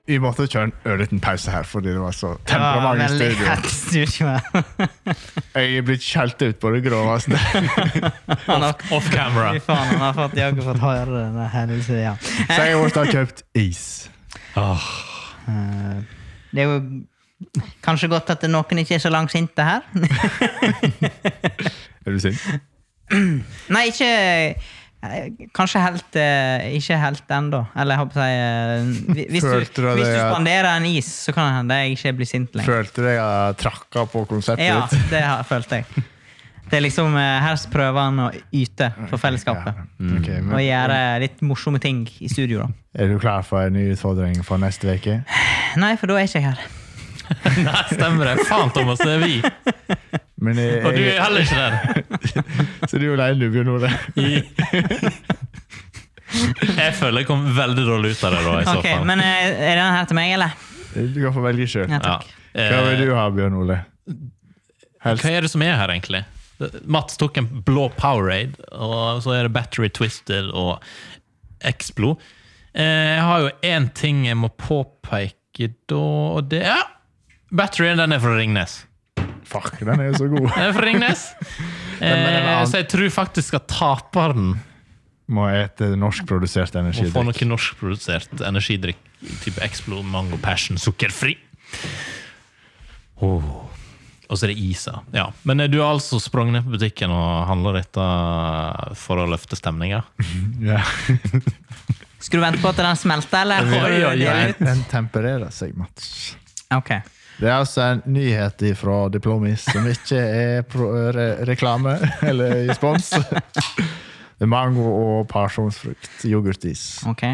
S2: Vi måtte kjøre en ørliten pause her, fordi det var så
S1: Det var
S2: temperament i
S1: veldig <laughs>
S2: studio.
S1: hett studio.
S2: Jeg er blitt skjelt ut på det
S3: <laughs>
S2: groveste.
S1: Han har-
S3: Off
S2: <laughs>
S3: camera.
S1: Fy faen, han har fått Jakob fått høre denne hendelsen, ja.
S2: Så jeg måtte ha kjøpt is.
S3: Åh,
S1: Eh, Det er jo kanskje godt at noen ikke er så langsinte her. <laughs>
S2: Er du sint?
S1: Nei, ikke eh, Kanskje helt eh, Ikke helt ennå. Eller jeg håper jeg si eh, Hvis du,
S2: Følte du
S1: hvis du
S2: det at-
S1: spanderer en is, så kan det hende jeg ikke blir sint lenger.
S2: Følte du jeg trakka på konseptet
S1: Ja,
S2: ditt?
S1: det har, følte jeg. Det er liksom eh, Her prøver han å yte for fellesskapet.
S2: Ok,
S3: Mm.
S1: Og
S2: men
S1: gjøre litt morsomme ting i studio, da.
S2: er du klar for en ny utfordring for neste uke?
S1: Nei, for da er ikke jeg her.
S3: Nei, stemmer det. Faen, Thomas, det er vi.
S2: Men jeg,
S3: Og du
S2: jeg,
S3: er heller ikke der.
S2: så du er alene, Bjørn Ole?
S3: <laughs> Jeg føler jeg kom veldig dårlig ut av det, da, i så
S1: Ok,
S3: fall.
S1: Men eh, er den her til meg, eller?
S2: Du kan få velge sjøl.
S1: Ja,
S3: Ja.
S1: takk.
S2: Hva vil
S3: Eh,
S2: du ha, Bjørn Ole? Helst
S3: Hva er det som er her, egentlig? Mats tok en blå Powerade, og så er det Battery Twisted og Explo. Eh, Jeg har jo én ting jeg må påpeke da, og det er Batterien den er fra Ringnes.
S2: Fuck, den er jo så
S3: <laughs>
S2: god.
S3: Den er fra Ringnes.
S2: <laughs> men den
S3: Eh,
S2: er-
S3: så jeg tror faktisk at taperen
S2: Må ete norskprodusert
S3: må få
S2: energidrikk.
S3: noe norskprodusert energidrikk. type Explo, mango, passion, sukkerfri. Åh. Og så er det isa. Ja. Men eh, du har altså sprunget ned på butikken og handla dette for å løfte stemninga?
S2: Ja.
S1: Skulle du vente på at den smelter, eller?
S3: Oi, oi, oi.
S2: Den- Den tempererer seg, Mats.
S1: Ok.
S2: Det er altså en nyhet fra Diplomis som ikke er pro re reklame eller spons. Det er mango og pasjonsfrukt, yoghurtis.
S1: ok.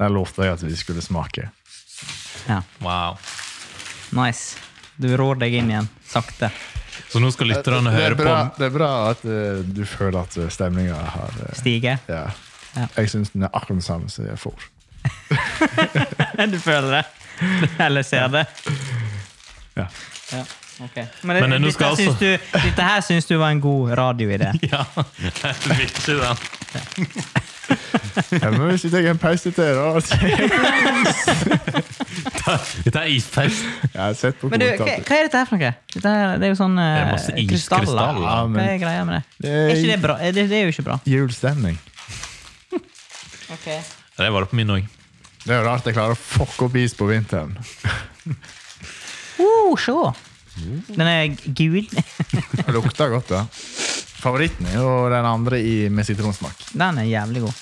S2: Den lovte jeg at vi skulle smake.
S1: Ja.
S3: Wow.
S1: Nice. Du rår deg inn igjen. Sakte.
S3: Så nå skal lytterne
S2: det, er
S3: høre på
S2: bra, det er bra at eh, du føler at stemninga har eh,
S3: <laughs>
S1: Stige.
S2: ja.
S1: Ja.
S2: Jeg syns den er akkurat den samme som jeg får.
S1: Du føler det. Eller ser det.
S2: Ja.
S1: Ja. ok. Men,
S3: Men
S1: det,
S3: nå
S1: dette,
S3: skal
S1: syns
S3: altså-
S1: du, dette her syns du var en god radioidé.
S3: <laughs> <laughs> Ja, det er viktig, da.
S2: Ja, men hvis vi tar en pause til, da
S3: Dette er isfest.
S2: <laughs> Jeg har sett på
S1: Men du, hva,
S2: kommentarer.
S1: hva er dette her for noe? Dette her, det er jo sånn eh,
S3: Det er masse
S1: krystaller.
S3: iskrystaller.
S1: Hva
S2: Ja, men-
S1: er greia med det?
S2: Det er-
S1: Er ikke det bra? Er Det, det er jo ikke bra.
S2: Julestemning.
S3: Det var det på min òg.
S2: Det er jo rart jeg klarer å fucke opp is på vinteren.
S1: Uh, se! Den er gul. <laughs>
S2: Det lukter godt, da. Favoritten er jo den andre i, med sitronsmak.
S1: Den er jævlig god.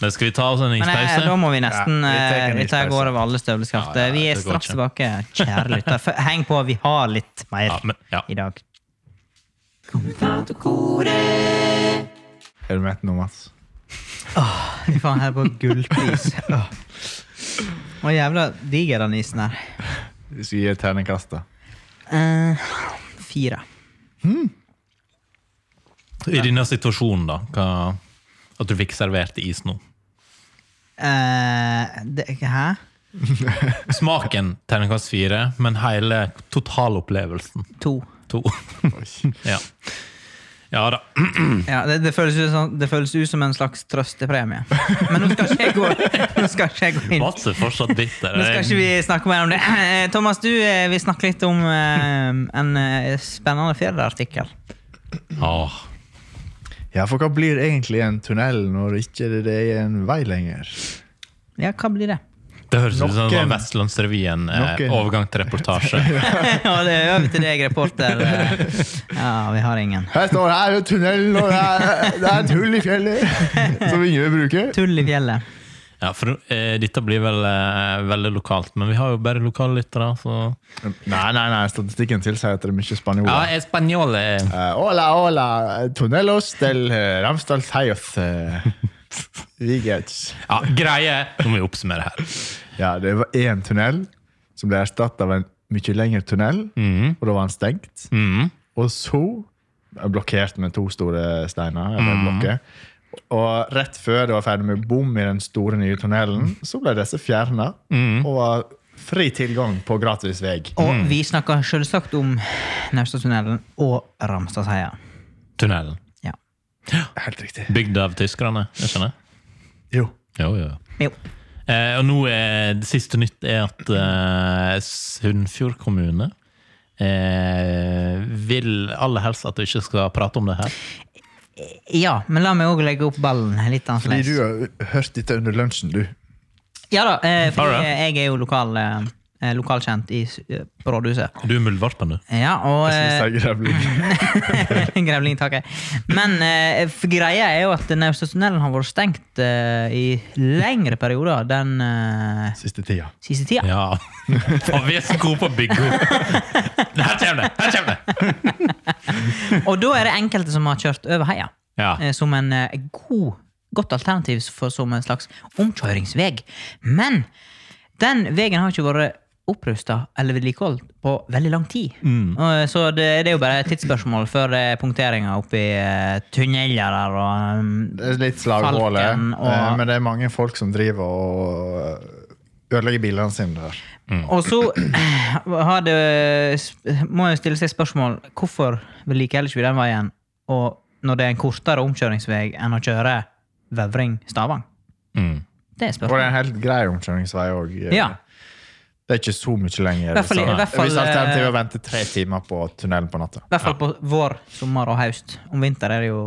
S3: Men skal vi ta oss en
S1: Men eh, da
S3: ispause?
S1: må vi nesten
S2: Ja, vi tar
S1: eh,
S2: en
S1: vi tar
S2: ispause.
S1: går over alle støvleskaft.
S3: Ja, ja,
S1: vi er
S3: det går
S1: straks tilbake, kjære lytter. F- Heng på, vi har litt mer
S3: Ja, men- ja.
S1: i dag.
S2: Er du mett nå, Mats?
S1: Vi får her på gullpris. Åh. Å, jævla diger den isen her.
S2: Vi skal gi et terningkast, da.
S1: Eh, fire.
S3: I denne situasjonen, da. Hva, at du fikk servert is nå.
S1: Eh, det, hæ?
S3: Smaken terningkast fire, men hele totalopplevelsen
S1: To.
S3: to. Ja. ja da.
S1: Ja, det, det, føles ut som, det føles ut som en slags trøstepremie. Men nå skal ikke jeg gå, nå skal ikke jeg gå inn.
S3: Mats er fortsatt bitter.
S1: Nå skal ikke vi snakke mer om det. Eh, Thomas, du eh, vil snakke litt om eh, en eh, spennende ferieartikkel.
S3: Åh.
S2: Ja, for hva blir egentlig en tunnel når ikke det er en vei lenger?
S1: Ja, hva blir det? <laughs>
S3: Det høres ut som
S2: Noen-
S3: sånn Vestlandsrevyen. Eh,
S2: Noen-
S3: overgang til reportasje. <laughs>
S1: ja, det er over til deg, reporter. Eh, Ja, vi har ingen.
S2: Her står det her er en tunnel, og det er, det er et hull i fjellet som ingen vil bruke.
S1: Tull i fjellet.
S3: Ja, for eh, Dette blir vel eh, veldig lokalt, men vi har jo bare lokale lyttere, så
S2: Nei, nei, nei, statistikken tilsier at det er mye
S3: Ja,
S2: spanjoler.
S3: espanjol eh,
S2: Eh, hola, hola, tunnelos del eh, Ramsdal Thaioth. Vigets.
S3: Ja, greie Nå må vi oppsummere her.
S2: Ja, det var én tunnel som ble erstattet av en mye lengre tunnel,
S3: Mm.
S2: og da var den stengt.
S3: Mhm.
S2: Og så blokkert med to store steiner.
S1: Mhm.
S2: Eller blokker. Og rett før det var ferdig med bom i den store nye tunnelen, så ble disse fjerna.
S1: Mhm.
S2: Og var fri tilgang på gratis vei.
S1: Og vi snakker selvsagt om Naustatunnelen og Ramstadseia.
S3: Tunnelen.
S1: Ja.
S2: Helt riktig.
S3: Bygd av tyskerne, jeg skjønner?
S2: Jo.
S3: Jo, jo.
S1: Jo.
S3: Eh, og nå er det siste nytt er at eh, Sunnfjord kommune eh, vil aller helst at du ikke skal prate om det her.
S1: Ja, men la meg òg legge opp ballen litt
S2: Fordi du
S1: annerledes.
S2: har hørt dette under lunsjen, du.
S1: Ja da, eh, fordi
S3: Har du det?
S1: eh, jeg er jo lokal, eh, lokalkjent i, s- eh, på rådhuset.
S3: Du er muldvarpen, du.
S1: Ja, og eh, <laughs>
S2: Synes jeg grevling.
S1: Grevling, takk. Men eh, for greia er jo at Naustatunnelen har vært stengt eh, i lengre perioder den eh,
S2: Siste tida.
S1: siste tida.
S3: Ja. <laughs> For vi er så gode på å bygge opp. Her kommer det! Her kommer det!
S1: Og da er det enkelte som har kjørt over heia.
S3: Ja.
S1: eh, som en eh, god, godt alternativ for, som en slags omkjøringsveg. Men den veien har ikke vært opprusta eller vedlikeholdt på veldig lang tid. Og, Så det, det er jo bare et tidsspørsmål før det er punkteringer oppi eh, tunneler der og um,
S2: Det er litt slaghåle.
S1: Falken og-
S2: eh, Men det er mange folk som driver og eh, ødelegger bilene sine der.
S1: Og så eh, har det, eh, må en stille seg spørsmål hvorfor vedlikeholder ikke vi den veien og når det er en kortere omkjøringsvei enn å kjøre Vevring-Stavang?
S3: Mm.
S1: Det er
S2: Og det er
S1: spørsmålet.
S2: en helt grei omkjøringsvei eh. òg.
S1: Ja.
S2: Det er ikke så mye lenger.
S1: I hvert fall-
S2: så-
S1: i hvert fall- eh,
S2: Hvis alternativet er å vente tre timer på tunnelen på natta,
S1: I hvert fall på vår, sommer og høst. Om vinter er det jo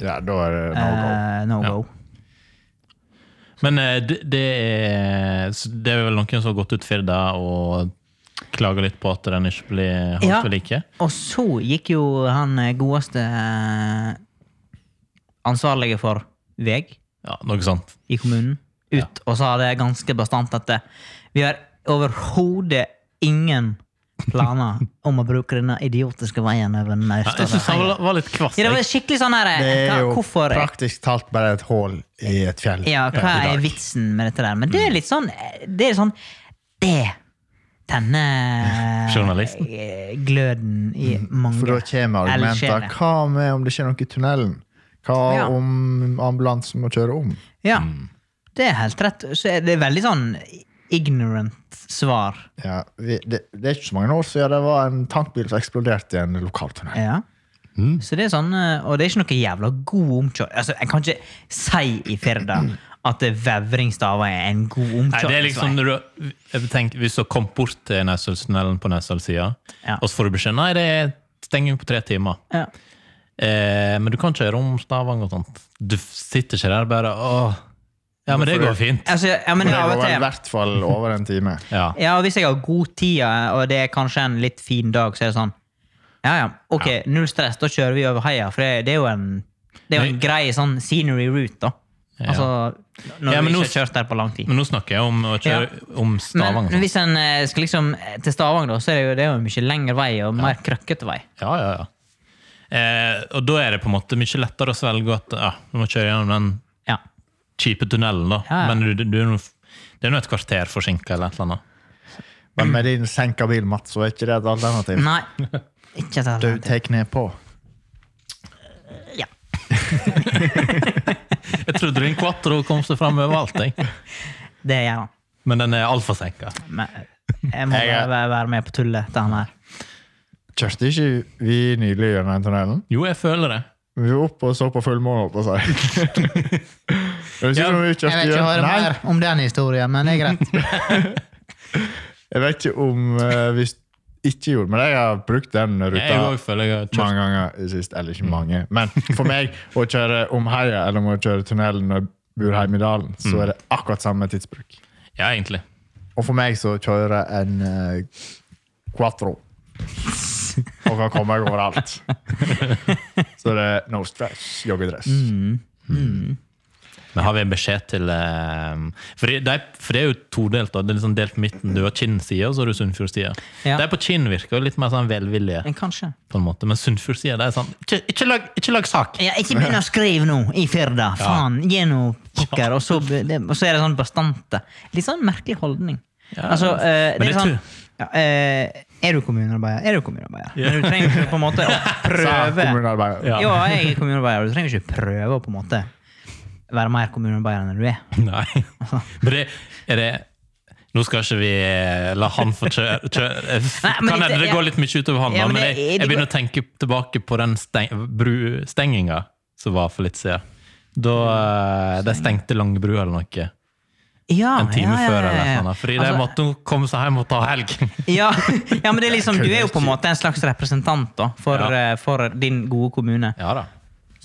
S2: ja, da er det no go.
S1: eh, no go.
S3: Men eh, det, det, er, så det er vel noen som har gått ut Firda og klaga litt på at den ikke blir holdt
S1: Ja.
S3: ved like?
S1: Og så gikk jo han eh, godeste eh, ansvarlige for vei
S3: Ja, noe sånt.
S1: i kommunen ut
S3: Ja.
S1: og sa det ganske bastant at eh, vi har overhodet ingen planer om å bruke denne idiotiske veien over den
S3: Ja, jeg syns
S1: østlige.
S3: han var- var litt kvass.
S1: Ja, det var
S3: jeg.
S1: skikkelig sånn her eh,
S2: Det er
S1: hva,
S2: jo
S1: Hvorfor
S2: praktisk talt bare et hull i et fjell.
S1: Ja, hva
S2: i dag.
S1: er vitsen med dette der? Men det er litt sånn Det er sånn Det tenner
S3: Journalisten.
S1: eh, gløden i mange
S2: For da kommer argumenter.
S1: eldsjeler.
S2: Hva med om det skjer noe i tunnelen? Hva
S1: Ja.
S2: om ambulansen må kjøre om?
S1: Ja, det er helt rett. Så er det veldig sånn ignorant svar.
S2: Ja, vi, det, det er ikke så mange år siden det var en tankbil som eksploderte i en lokaltunnel.
S1: Ja.
S3: Mm.
S1: Så det er sånn, eh, Og det er ikke noe jævla god omkjøring. Altså, en kan ikke si i Firda at det Vevringstava er en god
S3: Nei, det er liksom
S1: omkjøringsvei.
S3: når du, jeg tenker, Hvis du har kommet bort til Næsøystunnelen på Næsøy-sida,
S1: Ja.
S3: og så får du beskjed Nei, det er stenging på tre timer.
S1: Ja.
S3: Eh, men du kan ikke gjøre om Stavanger og sånt. Du sitter ikke der bare Åh, ja, men det går fint.
S1: Altså, ja, men
S2: Det
S1: av
S2: var
S1: og
S2: vel i
S1: til
S2: hvert fall over en time.
S3: Ja.
S1: Ja, og hvis jeg har god tid, ja, og det er kanskje en litt fin dag, så er det sånn Ja, ja, ok, null stress, da kjører vi over heia, for det, det er jo en det er jo en
S3: Men-
S1: grei sånn scenery route, da.
S3: Ja.
S1: Altså, når
S3: Ja,
S1: du
S3: men
S1: ikke
S3: nå-
S1: har kjørt der på lang tid.
S3: Men nå snakker jeg om, å kjøre, om
S1: Men
S3: Stavanger. og sånn. sånt.
S1: hvis en eh, skal liksom eh, til Stavanger, da, så er det jo, det er jo en mye lengre vei og mer krøkkete vei.
S3: Ja, ja, ja. Eh, og da er det på en måte mye lettere å svelge at ja, du må kjøre gjennom den
S1: Ja.
S3: kjipe tunnelen, da.
S1: Ja, ja.
S3: Men du, du er nå- det er nå et kvarter forsinka eller et
S1: <laughs>
S3: eller annet.
S2: Men med din senka bil, Mats, så er ikke det et alternativ.
S1: Nei. Ikke et
S2: Du
S1: alternativ.
S2: tar kne på.
S1: Ja.
S3: Jeg trodde din quattro kom seg fram overalt, jeg.
S1: Det gjør han.
S3: Men den er altfor senka.
S1: Men jeg må
S2: Jeg er-
S1: bare være med på tullet til han her.
S2: Kjørte ikke vi nylig gjennom den tunnelen?
S3: Jo, jeg føler det.
S2: Vi var oppe og så på fullmåne, holdt jeg på å si. Er det
S3: <laughs>
S2: ikke
S3: Ja,
S2: noe vi kjørte gjennom- Nei,
S1: om den historien, men det er greit.
S2: Jeg vet ikke om eh, vi s- ikke gjorde Men jeg har brukt den
S3: Jeg
S2: ruta
S3: òg føler jeg har kjørt
S2: mange ganger i sist. Eller ikke mange, men for meg å kjøre om heia eller om å kjøre tunnelen når jeg bor hjemme i dalen,
S3: Mm.
S2: så er det akkurat samme tidsbruk.
S3: Ja, egentlig.
S2: Og for meg så kjører jeg en eh, quattro. Og kan komme meg
S3: <laughs>
S2: overalt. så det er no stress, joggedress.
S3: Mm. Men har vi en beskjed til eh, For det, det er, for det er jo todelt. da. Det er liksom delt på midten. Du har Kinn-sida, og så har du Sunnfjord-sida.
S1: Ja.
S3: De på Kinn virker jo litt mer sånn velvillige,
S1: Men kanskje.
S3: på en måte. men Sunnfjord-sida det er sånn Ikke, ikke, lag, ikke lag sak!
S1: Ja, ikke begynn å skrive nå, i Firda. Faen, gi nå pokker. Og, så, be- det, og så er det sånn bastante. Litt sånn merkelig holdning.
S3: Ja.
S1: altså, eh,
S3: Men
S1: det
S3: jeg
S1: er sånn
S3: tror-
S1: ja, eh, Er du kommunearbeider? Er du kommunearbeider? Men du trenger ikke på en
S3: <laughs>
S1: måte å
S2: Sa
S1: prøve
S2: kommunearbeider.
S3: Ja.
S1: Ja, jeg er kommunearbeider, og du trenger ikke prøve å på en måte være mer kommunearbeider enn du er.
S3: Nei. Men det, er det Nå skal ikke vi eh, la han få kjøre
S1: Nei, men
S3: Kan hende
S1: det-
S3: det går litt mye utover han,
S1: Ja,
S3: da,
S1: men
S3: men
S1: det-
S3: jeg, jeg
S1: det går-
S3: begynner å tenke tilbake på den steng, bru- stenginga som var for litt siden. Da eh, de stengte Langebru eller noe.
S1: Ja,
S3: En time
S1: Ah, ja, ja,
S3: før.
S1: ja,
S3: eller
S1: ja.
S3: noe sånt, Fordi de
S1: Altså,
S3: måtte jo komme seg hjem og ta helg.
S1: <laughs> ja, ja, men det er liksom, du er jo på en måte en slags representant da, for,
S3: Ja.
S1: eh, for din gode kommune.
S3: Ja da.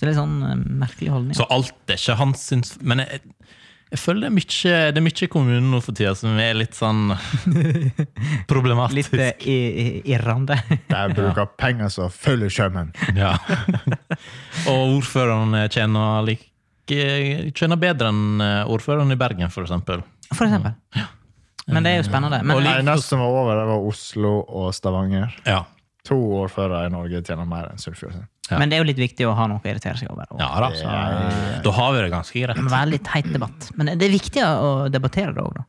S1: Så det er sånn eh, merkelig holdning.
S3: Så alt er ikke hans syns... Men jeg, jeg føler det er mye, det er mye i kommunen nå for tida som er
S1: <laughs>
S3: litt sånn
S1: Litt
S3: problematisk.
S1: eh, i- i- irrende.
S2: Jeg bruker penger som følger sjømen.
S3: <laughs> Ja. Og ordføreren tjener, like, tjener bedre enn eh, ordføreren i Bergen, for eksempel.
S1: For eksempel. Men det er jo spennende. Men,
S2: Det eneste som var over, det var Oslo og Stavanger.
S3: Ja.
S2: To år før i Norge tjener mer enn Sunnfjord. sin.
S3: Ja.
S1: men det er jo litt viktig å ha noe å irritere seg over. Og
S3: ja da. Så, da har vi det ganske greit.
S1: det må være litt teit debatt. Men det er viktig å debattere det òg, da.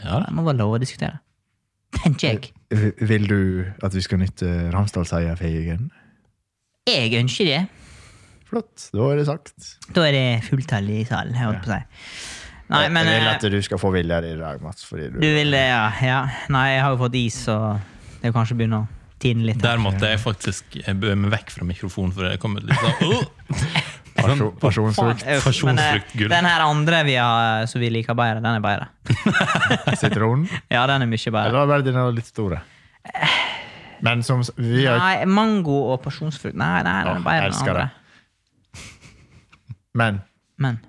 S3: Ja da.
S1: Det må være lov å diskutere. Tenker jeg.
S2: V- Vil du at vi skal nytte Ramsdalseia Feigen?
S1: Jeg ønsker det.
S2: Flott, da er det sagt.
S1: Da er det fulltall i salen, jeg holdt på å si. Nei, men
S2: jeg vil
S1: eh,
S2: at du skal få vilje i dag, Mats. Fordi du,
S1: du vil eh, ja, ja. Nei, jeg har jo fått is, så det er jo kanskje begynner å tine litt. her.
S3: Der måtte jeg faktisk bøye meg vekk fra mikrofonen, for det kom et litt sånn «Åh!»
S2: Pasjon-
S1: Faen,
S2: Pasjonsfrukt
S1: jeg- men, eh,
S3: Pasjonsfrukt, gull.
S1: Den her andre vi har, eh, som vi liker bedre, den er bedre. <laughs>
S2: sitron.
S1: Ja, den er mye bedre.
S2: Eller var det dine litt store? Men som s- vi har,
S1: Nei, mango og pasjonsfrukt Nei, nei, den er
S2: Åh,
S1: bedre enn
S2: elsker
S1: andre.
S2: det. Men
S1: Men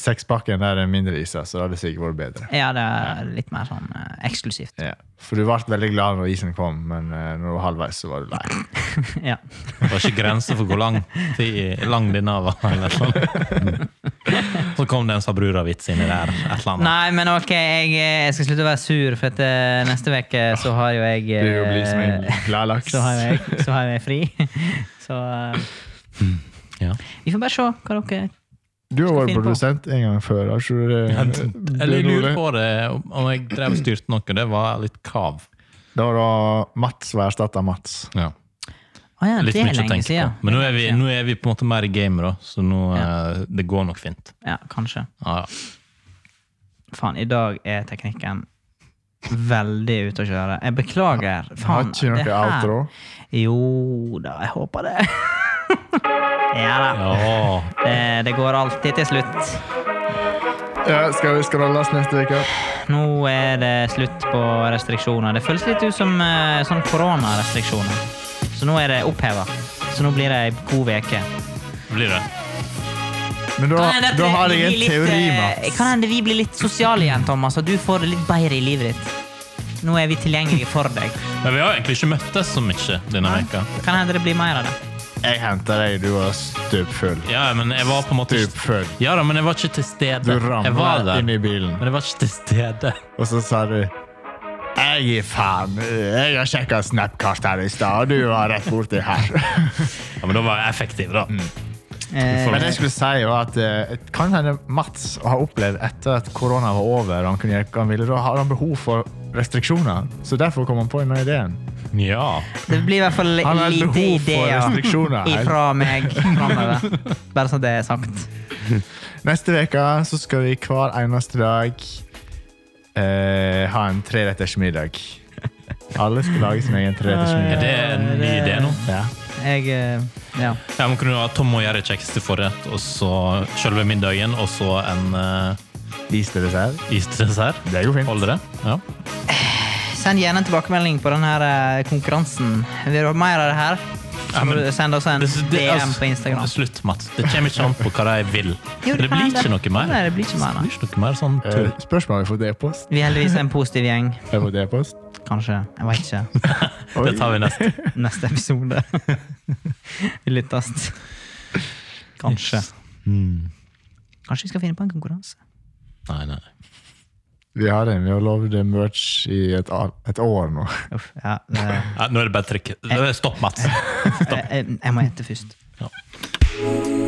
S2: sekspakken der er mindre iser, så det hadde sikkert vært bedre.
S1: Ja, det er litt mer sånn eh, eksklusivt.
S2: Ja. For du ble veldig glad når isen kom, men eh, når du var halvveis, så var du lei.
S1: <laughs> ja.
S3: Det var ikke grenser for hvor lang, tid, lang denne var. Eller et eller annet. Så kom det en Sabrura-vits inni der. Et eller annet.
S1: Nei, men ok, jeg, eh, jeg skal slutte å være sur, for at eh, neste uke så har jo jeg
S2: Du blir som en
S1: eh,
S2: glad laks.
S1: så, har jo jeg så har jo jeg fri. <laughs> Så eh,
S3: Ja.
S1: vi får bare se hva dere
S2: Du har vært
S1: finne på.
S2: produsent en gang før. Har ikke du det?
S3: Eller jeg lurer
S2: Ole?
S3: på det, om- om jeg drev og styrte noe. Det var litt kav.
S2: Det var da Mats var erstatta Mats.
S3: Ja.
S1: Å ja,
S3: Litt
S1: det er
S3: mye å
S1: lenge
S3: tenke
S1: siden.
S3: på. Men nå er, vi, nå er vi på en måte mer i gamet, da, så nå,
S1: Ja.
S3: eh, det går nok fint.
S1: Ja, kanskje.
S3: Ja, ja.
S1: Faen, i dag er teknikken veldig ute å kjøre. Jeg beklager.
S2: Har
S1: Faen,
S2: ikke
S1: det
S2: noe
S1: her-
S2: outro.
S1: Jo da, jeg håper det. <laughs> ja da.
S3: Ja.
S1: Det, det går alltid til slutt.
S2: Ja, skal vi scrolles neste uke?
S1: Nå er det slutt på restriksjoner. Det føles litt ut som eh, sånn koronarestriksjoner. Så nå er det oppheva. Så nå blir det ei god uke.
S3: Blir det.
S2: Men da,
S1: Kan hende at
S2: da har
S1: vi
S2: jeg en
S1: blir litt,
S2: teori,
S1: eh,
S2: Mats.
S1: Kan hende vi blir litt sosiale igjen, Thomas, og du får det litt bedre i livet ditt. Nå er vi tilgjengelige for deg.
S3: Men vi har egentlig ikke møttes så mye denne uka.
S1: Kan hende det blir mer av det.
S2: Jeg henta deg, du var stupfull.
S3: Ja, men jeg var på en måte ikke-
S2: Stupfull.
S3: Ja da, men jeg var ikke til stede.
S2: Du
S3: Jeg var
S2: ramla
S3: der,
S2: inn
S3: men
S2: i bilen,
S3: jeg var ikke til stede.
S2: og så sa du jeg gir faen. Jeg har sjekka Snapkart her i stad, og du var rett borti her.
S3: Ja, Men da var jeg effektiv, da.
S1: Eh,
S2: Men det jeg skulle si var at eh, kan hende Mats har opplevd etter at korona var over, og han, kunne, gjøre hva han ville, da har han behov for restriksjoner. Så derfor kom han på denne ideen.
S3: Ja.
S1: det blir i hvert fall
S2: Han har et
S1: lite
S2: behov for
S1: ideer
S2: restriksjoner her.
S1: ifra meg framover. Bare så det er sagt.
S2: Neste uke så skal vi hver eneste dag eh, ha en treretters middag. Alle skal lage sin egen treretters
S3: Er
S2: middag.
S3: det en ny idé nå?
S2: Ja.
S1: Jeg eh, Ja.
S3: Ja, man kunne ha Tom og Jerry kjeks til forrett, og så selve middagen, og så en uh,
S2: Is til dessert.
S3: isdessert.
S2: Det går fint.
S3: Holder det? Ja.
S1: Send gjerne en tilbakemelding på den her eh, konkurransen. Vil du ha mer av det her? Så
S3: Ja,
S1: må
S3: men-
S1: du sende oss en DM på Instagram.
S3: altså, Slutt, Mats. Det kommer ikke an på hva de vil.
S1: Jo, kan
S3: det, blir
S1: hende.
S3: ikke noe mer.
S1: Nei, det blir ikke mer. Nei.
S3: Det blir ikke noe mer sånn
S2: Eh,
S3: tull.
S2: spørsmål har vi fått e-post.
S1: Vi er heldigvis en positiv gjeng.
S2: Har vi fått e-post?
S1: Kanskje. Jeg veit ikke.
S2: Oi.
S3: Det tar vi neste.
S1: Neste episode. <laughs> Vi lyttes. Kanskje. Kanskje vi skal finne på en konkurranse.
S3: Nei, nei.
S2: Vi har en. Vi har lovd merch i et, al- et år nå.
S1: Uff, ja, det- Eh.
S3: Ja, nå er det bare trykk. Stopp, Mats.
S1: jeg, jeg, jeg må gjette først.
S3: Ja.